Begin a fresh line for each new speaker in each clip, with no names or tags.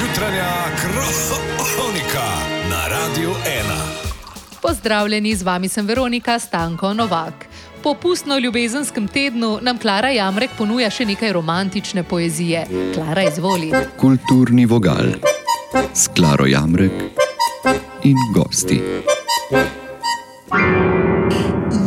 jutranja kronika na Radiu 1.
Pozdravljeni, z vami sem Veronika Stanko Novak. Po pustno-ljubezenskem tednu nam Klara Jamrek ponuja še nekaj romantične poezije. Klara izvoli.
Kulturni vogal s Klaro Jamrek in gosti.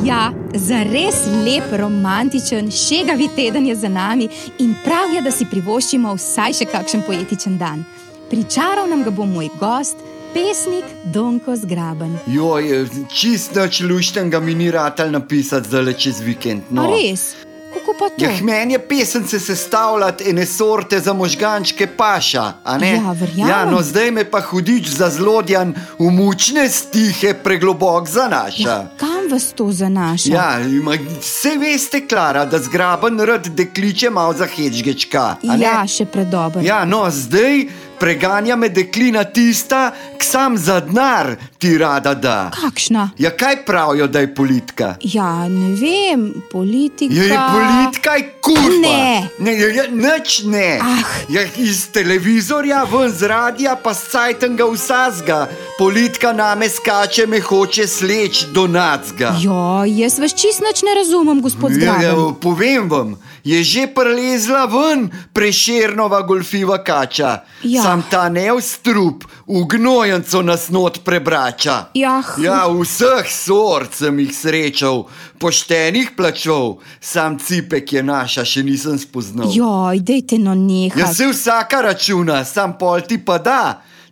Ja, zares lep, romantičen, šegavi teden je za nami in prav je, da si privoščimo vsaj še kakšen poetičen dan. Pričaral nam ga bo moj gost, pesnik Donko Zgraben.
Joj, eh, čist nič luštnega mi ni ratal napisati zdaj čez vikend.
No.
No.
Res, kako pa to?
Ja, meni je pesence sestavljati ene sorte za možgančke paša. a ne?
Ja, verjamem.
ja, no zdaj me pa hudič za zlodjan v mučne stihe preglobok zanaša.
Ja, kam vas to zanaša?
Ja, ima, se veste, Klara, da zgraben rad dekliče malo za hečgečka. a ne?
ja še predober.
Ja, no, zdaj preganja me deklina tista, k sam za denar ti rada da.
Kakšna?
Ja, kaj pravijo, da je politika? Ja,
Ja, ne vem, politika.
Je, je politika, je kurva.
Ne.
ne, je, je, nič ne.
Ah.
Je iz televizorja, ven z radia, pa scajtenga vsazga. Politika name skače, me hoče sleč do nacga.
Jo, jaz vas čist nič ne razumem, gospod
Ja, ja,
Zgraben.
povem vam, je že prelezla ven preširnova golfiva kača.
Ja.
Sam ta ne v strup, v gnojenco nas not prebrača.
Jah.
Ja, vseh sort sem jih srečal, poštenih plačal, sam cipek je naša, še nisem spoznal.
Joj, dejte no nehaj.
Ja, se vsaka računa, sam pol ti pa da.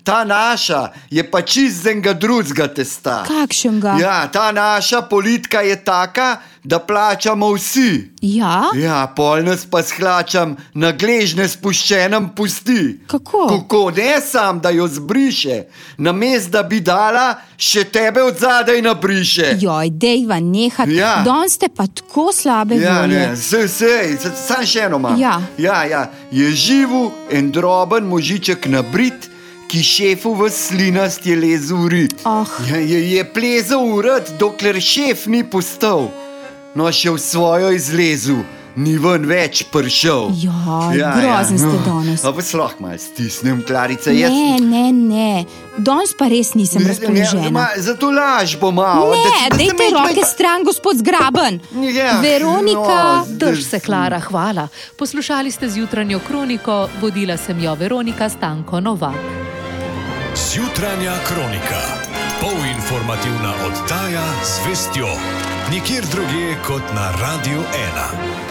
Ta naša je pa čist zenga drugega testa.
Kakšnega?
Ja, ta naša politika je taka, da plačamo vsi.
ja?
Ja, pol nas pa shlačam na gležne spuščenem pusti.
Kako?
Kako ne sam, da jo zbriše, namesto da bi dala, še tebe od zadaj nabriše.
Joj, dejva, nehaj.
Ja.
Don ste pa tako slabe
Ja,
volje.
ne, se, se, se, sam še eno imam.
Ja.
Ja, ja, je živel en droben možiček na brit, ki šefu v slinast je lezel urit.
Ah.
Ja, je, je plezel urit, dokler šef ni postal. No, še v svojo izlezel, ni ven več pršel.
Joj, grozen Ja, ste danes.
A Ja, No. pa sloh malo stisnem, klarice. jaz-
Ne, ne, ne. Danes pa res nisem
Ne,
razpoložena.
ma, zato laž bo malo.
Ne,
da- da se
dejte
med-
roke stran, gospod Zgraben.
Ja,
Veronika,
no,
Drž se, Klara, hvala. Poslušali ste z jutranjo kroniko, vodila sem jo Veronika Stanko Novak.
Zjutranja kronika. Polinformativna oddaja z vestjo. Nikjer drugje kot na Radiu 1.